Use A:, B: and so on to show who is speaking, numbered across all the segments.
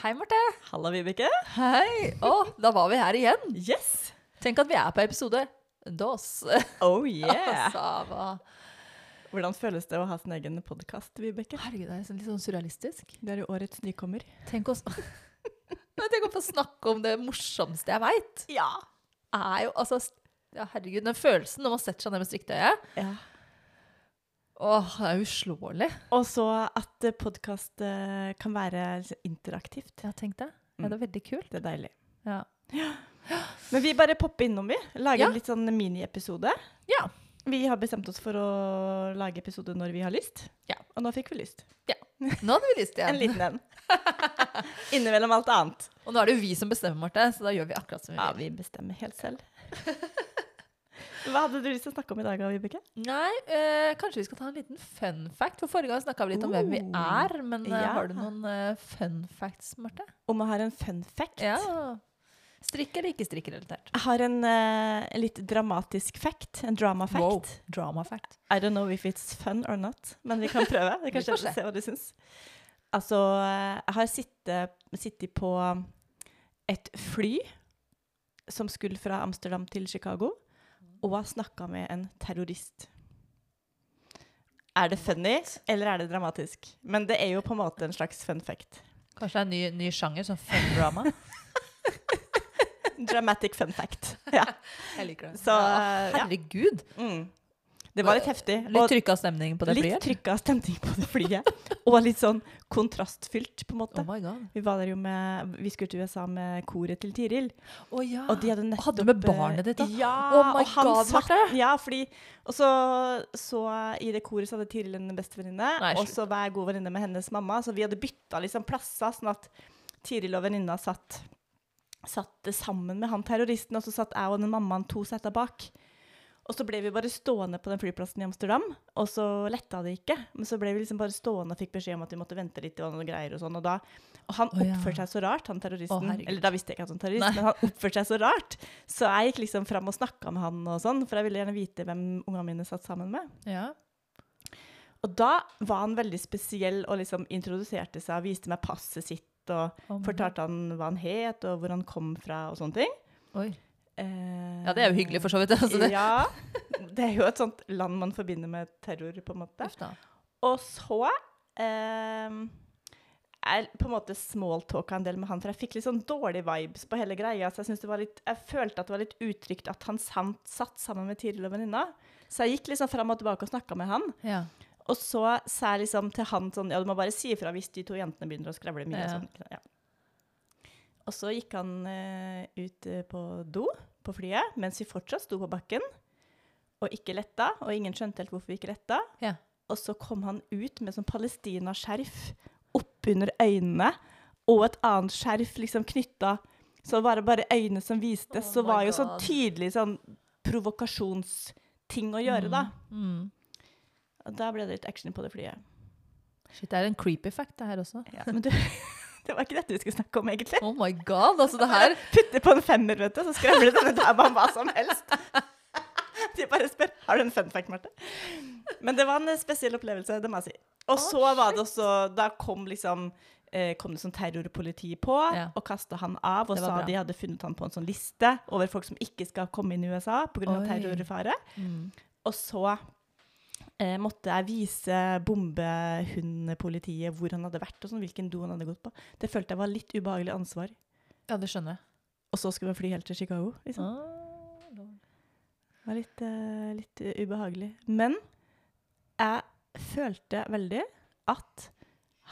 A: Hei, Marte.
B: Halla, Vibeke.
A: Hei. Å, da var vi her igjen.
B: Yes!
A: Tenk at vi er på episode dos.
B: Oh yeah!
A: Altså, hva-
B: Hvordan føles det å ha sin egen podkast, Vibeke?
A: Herregud, det er sånn- litt sånn surrealistisk.
B: Det er jo årets nykommer.
A: Tenk oss Men Tenk å få snakke om det morsomste jeg veit.
B: Ja.
A: Er jo altså st- ja, Herregud, den følelsen når man setter seg ned med striktøyet. Åh, det er uslåelig.
B: Og så at podkast kan være liksom interaktivt.
A: Ja, tenk det. Ja, det er veldig kult.
B: Det er deilig.
A: Ja.
B: Men vi bare popper innom, vi. Lager
A: Ja.
B: en litt sånn miniepisode.
A: Ja.
B: Vi har bestemt oss for å lage episode når vi har lyst.
A: Ja.
B: Og nå fikk vi lyst.
A: Nå hadde vi lyst igjen.
B: En liten en. Innimellom alt annet.
A: Og nå er det jo vi som bestemmer, Marte, så da gjør vi akkurat som vi vil.
B: Ja, vi bestemmer helt selv. Hva hadde du lyst til å snakke om i dag, Vibeke?
A: Nei, eh, kanskje vi skal ta en liten fun fact. For forrige gang snakka vi litt om hvem vi
B: Oh,
A: er. Men eh,
B: ja.
A: har du noen eh, fun facts, Marte?
B: Om jeg har en fun fact?
A: Ja. Strikk eller ikke strikk-relatert?
B: Jeg har en eh, litt dramatisk fact. En drama fact.
A: Wow. Drama fact.
B: I don't know if it's fun or not, men vi kan prøve. Vi kan
A: Vi får se.
B: se. hva du syns. Altså, eh, jeg har sittet, sittet på et fly som skulle fra Amsterdam til Chicago, og har snakka med en terrorist. Er det funny, eller er det dramatisk? Men det er jo på en måte en slags fun fact.
A: Kanskje det er en ny, ny sjanger, sånn fun drama.
B: Dramatic fun fact. Ja.
A: Jeg liker det.
B: Så,
A: ja.
B: ja.
A: Herregud.
B: Mm. Det var litt heftig. og-
A: Litt trykka stemning på det
B: Litt
A: flyet.
B: trykka stemning på det flyet. Og litt sånn kontrastfylt, på en måte.
A: Oh my god.
B: Vi var der jo med, vi skulle til USA med koret til Tiril.
A: Å ja.
B: Og de hadde nettopp
A: Hadde du med
B: eh,
A: barnet ditt da?
B: Ja!
A: Oh my
B: og han
A: God,
B: satt
A: Marte!
B: Ja, fordi Og så, så i det koret så hadde Tiril en bestevenninne,
A: Nei,
B: og
A: slutt.
B: så var jeg god venninne med hennes mamma, så vi hadde bytta liksom plasser, sånn at Tiril og venninna satt, satt sammen med han terroristen, og så satt jeg og den mammaen to setter bak. Og så ble vi bare stående på den flyplassen i Amsterdam, og så letta det ikke. Men så ble vi liksom bare stående og fikk beskjed om at vi måtte vente litt, og noen greier og sånn. Og, da, og han
A: Å, ja.
B: oppførte seg så rart, han terroristen.
A: herregud.
B: Eller da visste jeg ikke at han var terrorist,
A: Nei.
B: men han oppførte seg så rart. Så jeg gikk liksom fram og snakka med han og sånn, for jeg ville gjerne vite hvem ungene mine satt sammen med.
A: ja.
B: Og da var han veldig spesiell og liksom introduserte seg og viste meg passet sitt og
A: Oh my
B: fortalte han hva han het og hvor han kom fra og sånne ting.
A: God. Oi. ja, det er jo hyggelig, for så vidt. Altså, det.
B: Ja. Det er jo et sånt land man forbinder med terror, på en måte.
A: Uff da.
B: Og så eh, jeg på en måte smalltalka en del med han, for jeg fikk litt sånn dårlige vibes på hele greia. Så jeg, synes det var litt, jeg følte at det var litt utrygt at han sant, satt sammen med Tiril og venninna. Så jeg gikk liksom fram og tilbake og snakka med han.
A: Ja.
B: Og så sa jeg liksom til han sånn Ja, du må bare si ifra hvis de to jentene begynner å skravle mye.
A: Ja.
B: Og, sånn, ja. og så gikk han eh, ut eh, på do på flyet mens vi fortsatt sto på bakken og ikke letta. Og ingen skjønte helt hvorfor vi ikke letta.
A: Ja.
B: Og så kom han ut med sånn palestinaskjerf oppunder øynene og et annet skjerf liksom knytta Så var det bare øynene som vistes.
A: Oh
B: så
A: my
B: var jo sånn
A: God.
B: tydelig sånn provokasjonsting å gjøre, da.
A: Mm.
B: Og da ble det litt action på det flyet.
A: Shit, det er en creepy fact, det her også.
B: Ja, men du, det var ikke dette vi skulle snakke om, egentlig.
A: Oh my god, altså det her
B: Putte på en femmer, vet du, så skravler denne dama om hva som helst. De bare spør har du en fun fact, Marte. Men det var en eh, spesiell opplevelse, det må jeg si. Og
A: Å,
B: så var det også Da kom liksom eh, kom det sånn terrorpoliti på
A: Ja.
B: og kasta han av og
A: Det var
B: sa
A: bra.
B: de hadde funnet han på en sånn liste over folk som ikke skal komme inn i USA pga.
A: Oi.
B: terrorfare.
A: Mm.
B: Og så eh, måtte jeg vise bombehundpolitiet hvor han hadde vært, og sånn, hvilken do han hadde gått på. Det følte jeg var litt ubehagelig ansvar.
A: Ja, det skjønner jeg.
B: Og så skulle vi fly helt til Chicago. Liksom. Det var litt, eh, litt eh, ubehagelig. Men jeg følte veldig at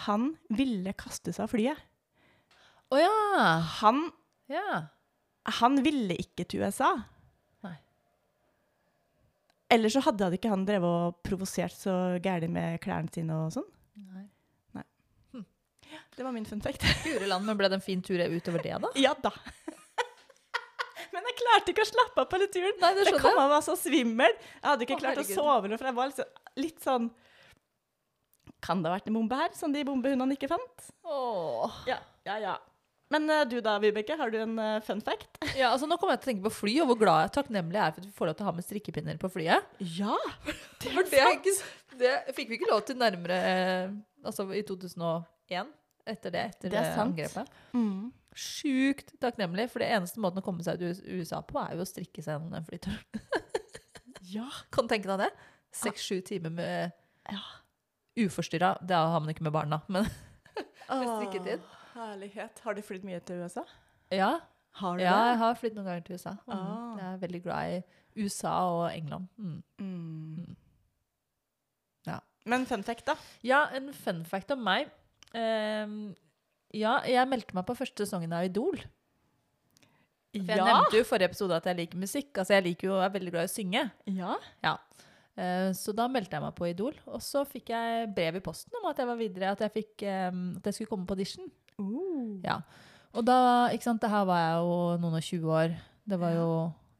B: han ville kaste seg av flyet.
A: Å ja.
B: Han,
A: ja.
B: han ville ikke til USA.
A: Nei.
B: Ellers så hadde ikke han drevet og provosert så gærent med klærne sine og sånn.
A: Nei.
B: Det var min fun fact.
A: Gure land, men ble det en fin tur utover det, da?
B: Ja da. Men jeg klarte ikke å slappe av på hele turen.
A: Nei,
B: Det kom av meg så svimmel. Jeg hadde ikke
A: Å,
B: klart å
A: herregud.
B: sove noe, for jeg var liksom, litt sånn Kan det ha vært en bombe her, som de bombehundene ikke fant?
A: Åh.
B: Ja, ja, ja. Men eh, du da, Vibeke, har du en eh, fun fact?
A: Ja, altså, nå kommer jeg til å tenke på fly, og hvor glad jeg takknemlig jeg er for at vi får lov til å ha med strikkepinner på flyet.
B: Ja!
A: For det, er ikke, s- det fikk vi ikke lov til nærmere eh, Altså i 2001. etter det, etter
B: Det er
A: det
B: sant.
A: angrepet.
B: Mm.
A: Sjukt takknemlig, for det eneste måten å komme seg til US- USA på, er jo å strikke seg en flytur.
B: Ja.
A: Kan du tenke deg det? Seks-sju timer med
B: Ja.
A: uforstyrra. Da har man ikke med barna, men strikketid.
B: Åh, Herlighet. Har du flydd mye til USA?
A: ja.
B: Har
A: Ja, jeg har flyttet noen ganger til USA. Mm.
B: Ah.
A: Jeg er veldig glad i USA og England. Mm.
B: Mm.
A: Ja.
B: Men fun fact, da.
A: Ja, en fun fact om meg. Ehm, ja, jeg meldte meg på første sesongen av Idol. For jeg nevnte jo i forrige episode at jeg liker musikk. Altså, jeg liker jo, jeg er veldig glad i å synge.
B: ja.
A: Eh, så da meldte jeg meg på Idol. Og så fikk jeg brev i posten om at jeg var videre, at jeg, fikk, ehm, at jeg skulle komme på audition.
B: Uh.
A: Ja. Og da, ikke sant, det her var jeg jo noen og 20 år. Det var jo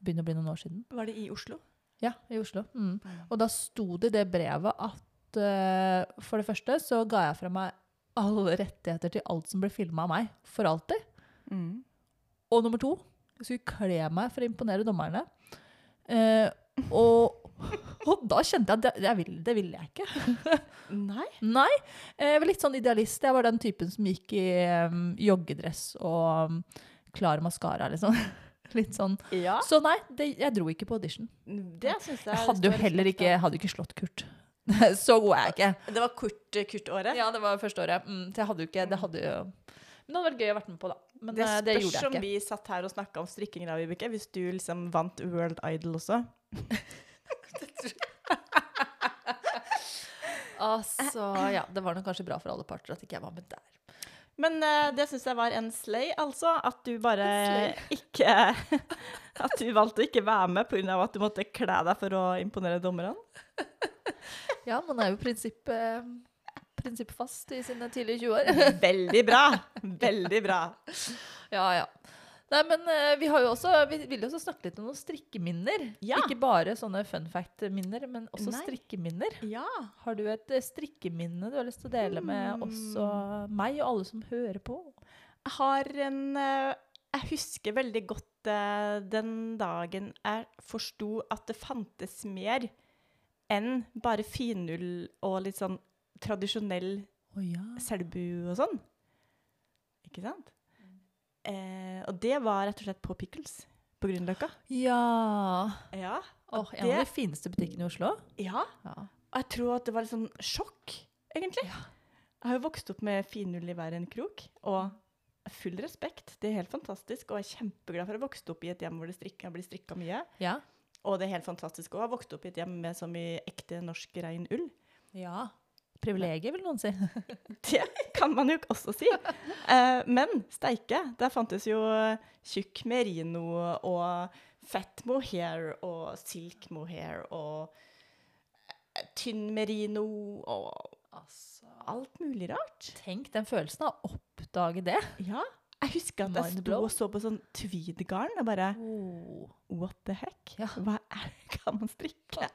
A: begynner å bli noen år siden.
B: Var det i Oslo?
A: Ja, i Oslo. Mm. Og da sto det i det brevet at eh, for det første så ga jeg fra meg alle rettigheter til alt som ble filma av meg, for alltid.
B: Mm.
A: Og nummer to, jeg skulle kle meg for å imponere dommerne. Eh, og, og da kjente jeg at det, det, vil, det ville jeg ikke.
B: Nei.
A: Nei. eh, Jeg var litt sånn idealist. Jeg var den typen som gikk i em, joggedress og um, klar maskara, liksom. Litt sånn.
B: Ja.
A: Så nei, det, jeg dro ikke på audition.
B: Det syns jeg
A: Jeg
B: er
A: hadde jo
B: stor
A: heller
B: respekt
A: ikke, hadde jo ikke slått Kurt. Så god er jeg ikke.
B: av. Det var kurt, Kurt-året.
A: Ja, det var første året. Mm, så jeg hadde jo ikke, det hadde jo... Men det hadde vært gøy å vært med på, da. Men
B: det
A: eh,
B: spørs
A: det gjorde
B: om
A: jeg ikke.
B: vi satt her og snakka om strikking, da, Vibeke. Hvis du liksom vant World Idol også.
A: Altså, ja, det var nok kanskje bra for alle parter at ikke jeg var med der.
B: Men eh, det syns jeg var en slay, altså. At du bare
A: En
B: ikke At du valgte å ikke være med pga. at du måtte kle deg for å imponere dommerne.
A: Ja, man er jo prinsipp, eh, prinsippfast i sine tidlige 20 år.
B: Veldig bra! Veldig bra.
A: Ja, ja. Nei, men eh, vi, har jo også, vi vil jo også snakke litt om noen strikkeminner.
B: Ja.
A: Ikke bare sånne fun fact-minner, men også
B: Nei.
A: strikkeminner.
B: Ja.
A: Har du et eh, strikkeminne du har lyst til å dele med også meg og alle som hører på?
B: Jeg har en eh, Jeg husker veldig godt eh, den dagen jeg forsto at det fantes mer enn bare finull og litt sånn tradisjonell
A: Å ja.
B: Selbu og sånn. Ikke sant? Eh, og det var rett og slett på Pickles på Grünerløkka.
A: Ja.
B: Ja.
A: Åh, en
B: det-
A: av de fineste butikkene i Oslo.
B: ja.
A: Ja.
B: Og jeg tror at det var litt sånn sjokk, egentlig. Jeg har jo vokst opp med finull i hver en krok, og full respekt. Det er helt fantastisk, og jeg er kjempeglad for å ha vokst opp i et hjem hvor det strikka, blir strikka mye.
A: Ja.
B: Og det er helt fantastisk å ha vokst opp i et hjem med så mye ekte norsk rein ull.
A: ja. Privilegiet, vil noen si.
B: Det kan man jo også si. Eh, men steike, der fantes jo tjukk merino og fett mohair og silk mohair og eh, tynn merino og
A: Altså.
B: alt mulig rart.
A: Tenk den følelsen av å oppdage det.
B: Ja. Jeg husker at jeg
A: Mind
B: sto
A: blown.
B: og så på sånn tweedgarn og bare
A: Oh.
B: What the heck?
A: Ja.
B: Hva er, kan man strikke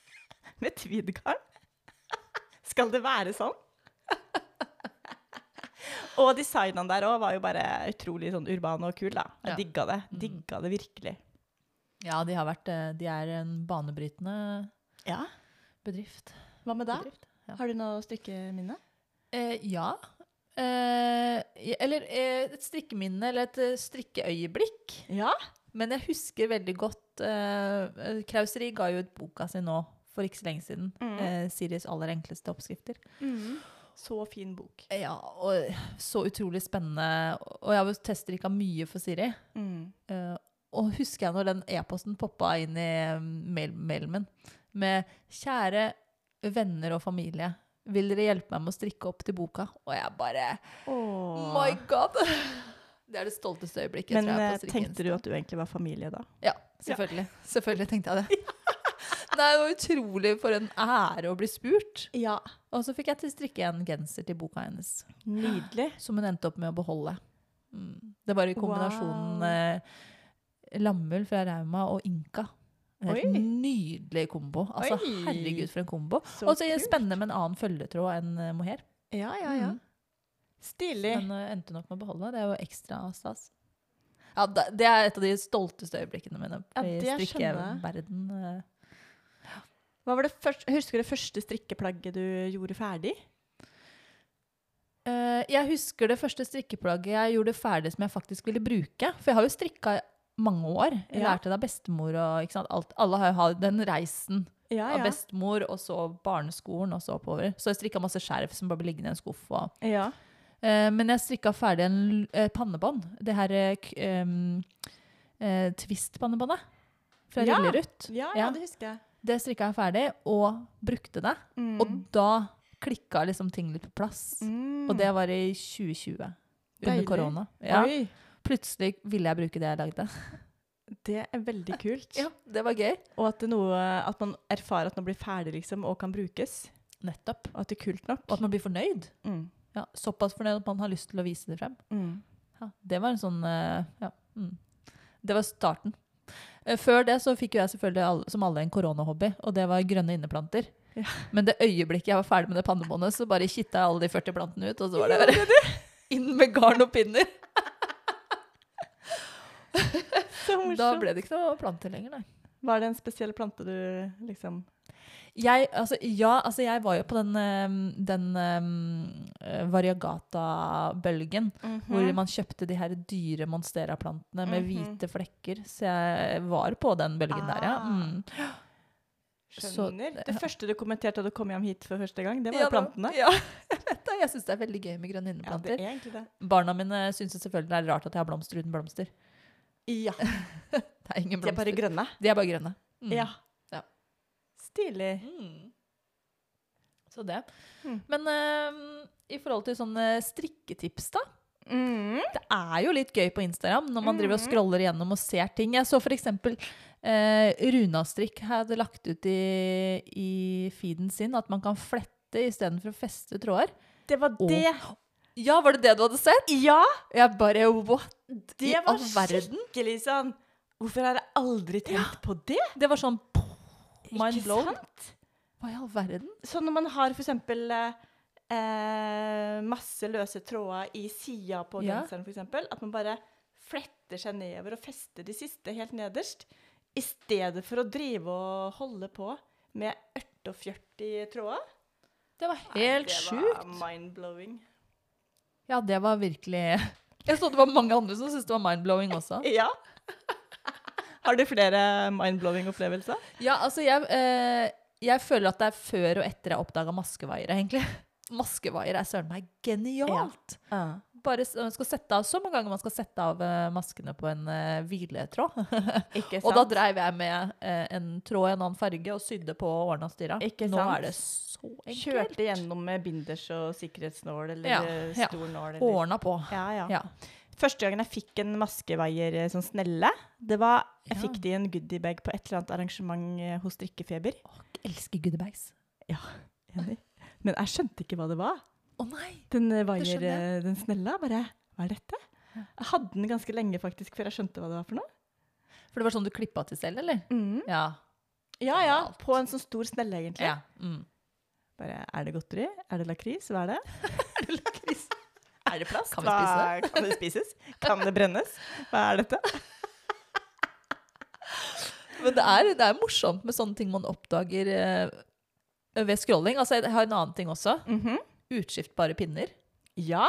B: med tweedgarn? Skal det være sånn? og designene der òg var jo bare utrolig sånn urbane og kule, da. Jeg
A: Ja.
B: digga det. Digga det virkelig.
A: Ja, de, har vært, eh, de er en banebrytende
B: Ja.
A: bedrift.
B: Hva med deg?
A: bedrift. Ja.
B: Har du noe strikkeminne?
A: Eh, ja. Eh, eller eh, et strikkeminne eller et eh, strikkeøyeblikk.
B: Ja.
A: Men jeg husker veldig godt eh, Krauseri ga jo ut boka si nå for ikke så lenge siden.
B: Mhm.
A: Eh, Siris aller enkleste oppskrifter.
B: Eh. Mm. Så fin bok.
A: Ja, og Så utrolig spennende. Og jeg har jo teststrikka mye for Siri.
B: Mm.
A: Eh, og husker jeg når den e-posten poppa inn i mm, mail mailen min med 'Kjære venner og familie, vil dere hjelpe meg med å strikke opp til boka?' Og jeg bare My god! Det er det stolteste øyeblikket.
B: Men
A: tror jeg,
B: eh,
A: på strikkeinsta.
B: tenkte du at du egentlig var familie da?
A: Ja, selvfølgelig. Selvfølgelig tenkte jeg det. Nei, det var utrolig for en ære å bli spurt.
B: Ja.
A: Og så fikk jeg til å strikke en genser til boka hennes,
B: Nydelig.
A: som hun endte opp med å beholde. Mm. Det var i kombinasjonen eh, lammull fra Rauma og Inka. En helt
B: Oi.
A: nydelig kombo. Altså,
B: Oi.
A: herregud, for en kombo.
B: Så
A: Og så
B: kult.
A: spennende med en annen følgetråd enn eh, mohair.
B: Ja, ja, ja.
A: Mm.
B: Stilig.
A: Den eh, endte hun opp med å beholde. Det er jo ekstra stas. Ja, da- det er et av de stolteste øyeblikkene mine
B: Ja,
A: i
B: det skjønner jeg.
A: strikkeverden. eh.
B: Hva var det først, husker du det første strikkeplagget du gjorde ferdig?
A: Eh, jeg husker det første strikkeplagget jeg gjorde ferdig som jeg faktisk ville bruke. For jeg har jo strikka i mange år. Jeg
B: Ja.
A: lærte det av bestemor og ikke sant? Alt, Alle har jo hatt den reisen
B: Ja,
A: av
B: ja.
A: bestemor, og så barneskolen, og så oppover. Så jeg strikka masse skjerf som bare ble liggende i en skuff. og...
B: ja.
A: Eh, men jeg strikka ferdig en l- eh, pannebånd. Det her eh, k- em, eh, Twist-pannebåndet fra
B: Ja.
A: Rullerut.
B: Ja,
A: Ja.
B: ja, det husker jeg.
A: Det strikka jeg ferdig og brukte det.
B: Mm.
A: Og da klikka liksom ting litt på plass.
B: Mm.
A: Og det var i 2020. Under
B: Deilig.
A: korona. Ja.
B: Oi,
A: Plutselig ville jeg bruke det jeg lagde.
B: det er veldig kult.
A: Det var gøy.
B: Og at, det er noe, at man erfarer at man blir ferdig liksom, og kan brukes.
A: Nettopp.
B: Og at det er kult nok.
A: Og at man blir fornøyd.
B: Mm.
A: Ja, såpass fornøyd at man har lyst til å vise det frem.
B: Mm.
A: Ja, det var en sånn eh, Ja. Mm. Det var starten. Eh, Før det så fikk jo jeg selvfølgelig alle, som alle en koronahobby, og det var grønne inneplanter.
B: Ja.
A: Men det øyeblikket jeg var ferdig med det pannebåndet, så bare kitta jeg alle de 40 plantene ut, og så var det bare inn med garn og pinner.
B: Så
A: Da
B: morsomt.
A: ble det ikke noe planter lenger, nei.
B: Var det en spesiell plante du liksom
A: Jeg, altså, ja, altså jeg var jo på den, eh, den eh, variagata-bølgen. Hvor man kjøpte de her dyre monstera-plantene med
B: Mhm.
A: hvite flekker. Så jeg var på den bølgen der, ja.
B: Ah.
A: Mm. så-
B: Skjønner. det første du kommenterte da du kom hjem hit for første gang, det var
A: Ja,
B: jo plantene.
A: Ja, jeg vet det. Jeg syns det er veldig gøy med grønne
B: Ja, det
A: inneplanter.
B: er egentlig det.
A: Barna mine syns jo selvfølgelig det er rart at jeg har blomster uten blomster.
B: Ja,
A: Det er ingen
B: De er
A: blomster.
B: bare grønne.
A: De er bare grønne. Mm.
B: Ja.
A: Ja.
B: Stilig.
A: Mm. Så det.
B: Mm.
A: Men eh, i forhold til sånne strikketips, da. Det er jo litt gøy på Instagram når man driver og
B: Mhm.
A: scroller igjennom og ser ting. Jeg så f.eks. Eh, Runastrikk hadde lagt ut i, i feeden sin at man kan flette istedenfor å feste tråder.
B: Det var
A: Å,
B: det.
A: Ja, var det det du hadde sett?
B: Ja,
A: Jeg bare what? I
B: det
A: all
B: var
A: verden.
B: skikkelig sånn Hvorfor har jeg aldri tenkt på det?
A: Det var sånn mind
B: Ikke
A: blown.
B: sant?
A: Hva i all verden?
B: Så når man har for eksempel eh, eh, masse løse tråder i sida på
A: Ja.
B: genseren, for eksempel, at man bare fletter seg nedover og fester de siste helt nederst, i stedet for å drive og holde på med ørte og fjørt i tråder.
A: Det var
B: Nei,
A: helt sjukt.
B: Det var mind-blowing.
A: Ja, det var virkelig Jeg så det var mange andre som syntes det var mind-blowing også.
B: Ja. Har du flere mind-blowing-opplevelser?
A: Ja, altså, jeg, eh, jeg føler at det er før og etter jeg oppdaga maskevaiere, egentlig. Maskevaier er søren meg genialt. Bare s- man skal sette av så mange ganger man skal sette av eh, maskene på en eh, hviletråd.
B: Ikke sant?
A: Og da dreiv jeg med eh, en tråd i en annen farge og sydde på og ordna og styra.
B: Ikke
A: Nå
B: sant?
A: er det så enkelt.
B: Kjørte gjennom med binders og sikkerhetsnål, eller
A: Ja,
B: eh,
A: ja.
B: stor nål. Eller.
A: Ordna på.
B: Ja, ja.
A: Ja.
B: Første gangen jeg fikk en maskeveier eh, sånn snelle, det var, jeg
A: Ja.
B: fikk det i en goodiebag på et eller annet arrangement eh, hos Drikkefeber.
A: Elsker goodiebags.
B: Enig. Men jeg skjønte ikke hva det var.
A: Å nei!
B: Den eh, vaier,
A: skjønner jeg.
B: eh, den snella, bare, hva er dette? Jeg hadde den ganske lenge faktisk, før jeg skjønte hva det var for noe.
A: For det var sånn du klippa til selv, eller? Ja.
B: Ja, ja, på en sånn stor snelle egentlig.
A: ja. Mm.
B: Bare, er det godteri? Er det lakris? Hva er det? er det lakris? Er det plast?
A: Kan vi spise
B: Hva- Kan det spises? Kan det brennes? Hva er dette?
A: Men det er, det er morsomt med sånne ting man oppdager eh, ved scrolling. Altså, jeg har en annen ting også.
B: Mhm.
A: Utskiftbare pinner.
B: Ja,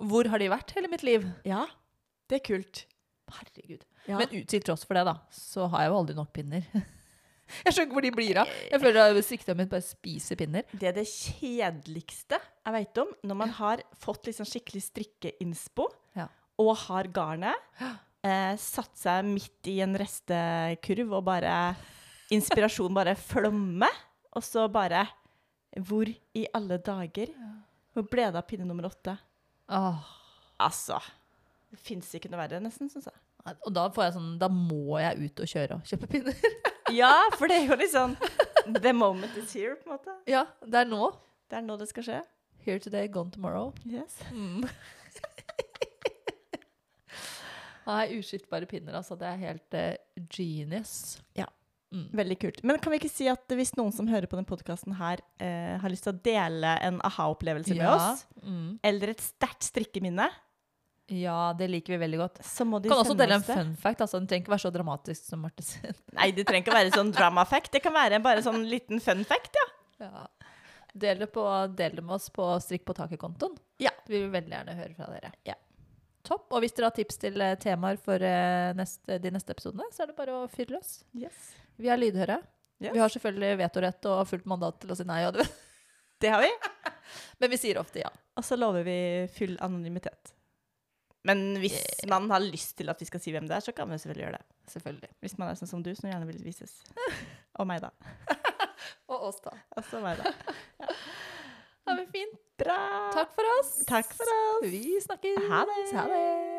A: Hvor har de vært hele mitt liv?
B: ja, det er kult.
A: Herregud.
B: Ja.
A: Men ut, til tross for det, da, så har jeg jo aldri nok pinner. Jeg skjønner ikke hvor de blir av. Jeg føler at sikta mitt bare spiser pinner.
B: Det er det kjedeligste jeg veit om. Når man har fått liksom skikkelig strikkeinspo
A: Ja.
B: og har garnet, eh, satt seg midt i en restekurv og bare Inspirasjon bare flommer, og så bare Hvor i alle dager? Hvor ble det av pinne nummer åtte?
A: Åh.
B: Altså Det fins ikke noe verre, nesten, syns jeg.
A: Og da får jeg sånn Da må jeg ut og kjøre og kjøpe pinner.
B: Ja, for det er jo litt sånn The moment is here, på en måte.
A: Ja, det er nå.
B: Det er nå det skal skje.
A: Here today, gone tomorrow.
B: Yes.
A: Mm. Nei, uskiftbare pinner, altså. Det er helt eh, genius.
B: Veldig kult. Men kan vi ikke si at hvis noen som hører på denne podkasten her, eh, har lyst til å dele en aha-opplevelse med oss,
A: Mm.
B: eller et sterkt strikkeminne,
A: Ja, det liker vi veldig godt.
B: så må de
A: Kan også
B: sende
A: dele en
B: oss det.
A: fun fact. Altså, den trenger ikke være så dramatisk som Marte sin.
B: Nei, det trenger ikke å være sånn drama fact. Det kan være bare sånn liten fun fact, ja.
A: Ja. Del det, på, del det med oss på Strikk på taket-kontoen.
B: Ja.
A: Vi vil veldig gjerne høre fra dere.
B: Ja.
A: Topp. Og hvis dere har tips til eh, temaer for eh, neste, de neste episodene, så er det bare å fyre løs.
B: Yes.
A: Vi er lydhøre.
B: Yes.
A: Vi har selvfølgelig vetorett og fullt mandat til å si nei, og det-
B: Det har vi.
A: men vi sier ofte ja.
B: Og så lover vi full anonymitet. Men hvis man har lyst til at vi skal si hvem det er, så kan vi selvfølgelig gjøre det.
A: Selvfølgelig.
B: Hvis man er sånn som du, som gjerne vil vises. Og meg, da.
A: Og oss, da.
B: Også meg, da.
A: Ha det fint.
B: Bra!
A: Takk for oss.
B: Takk for oss.
A: Vi snakkes.
B: Ha det.
A: Ha det.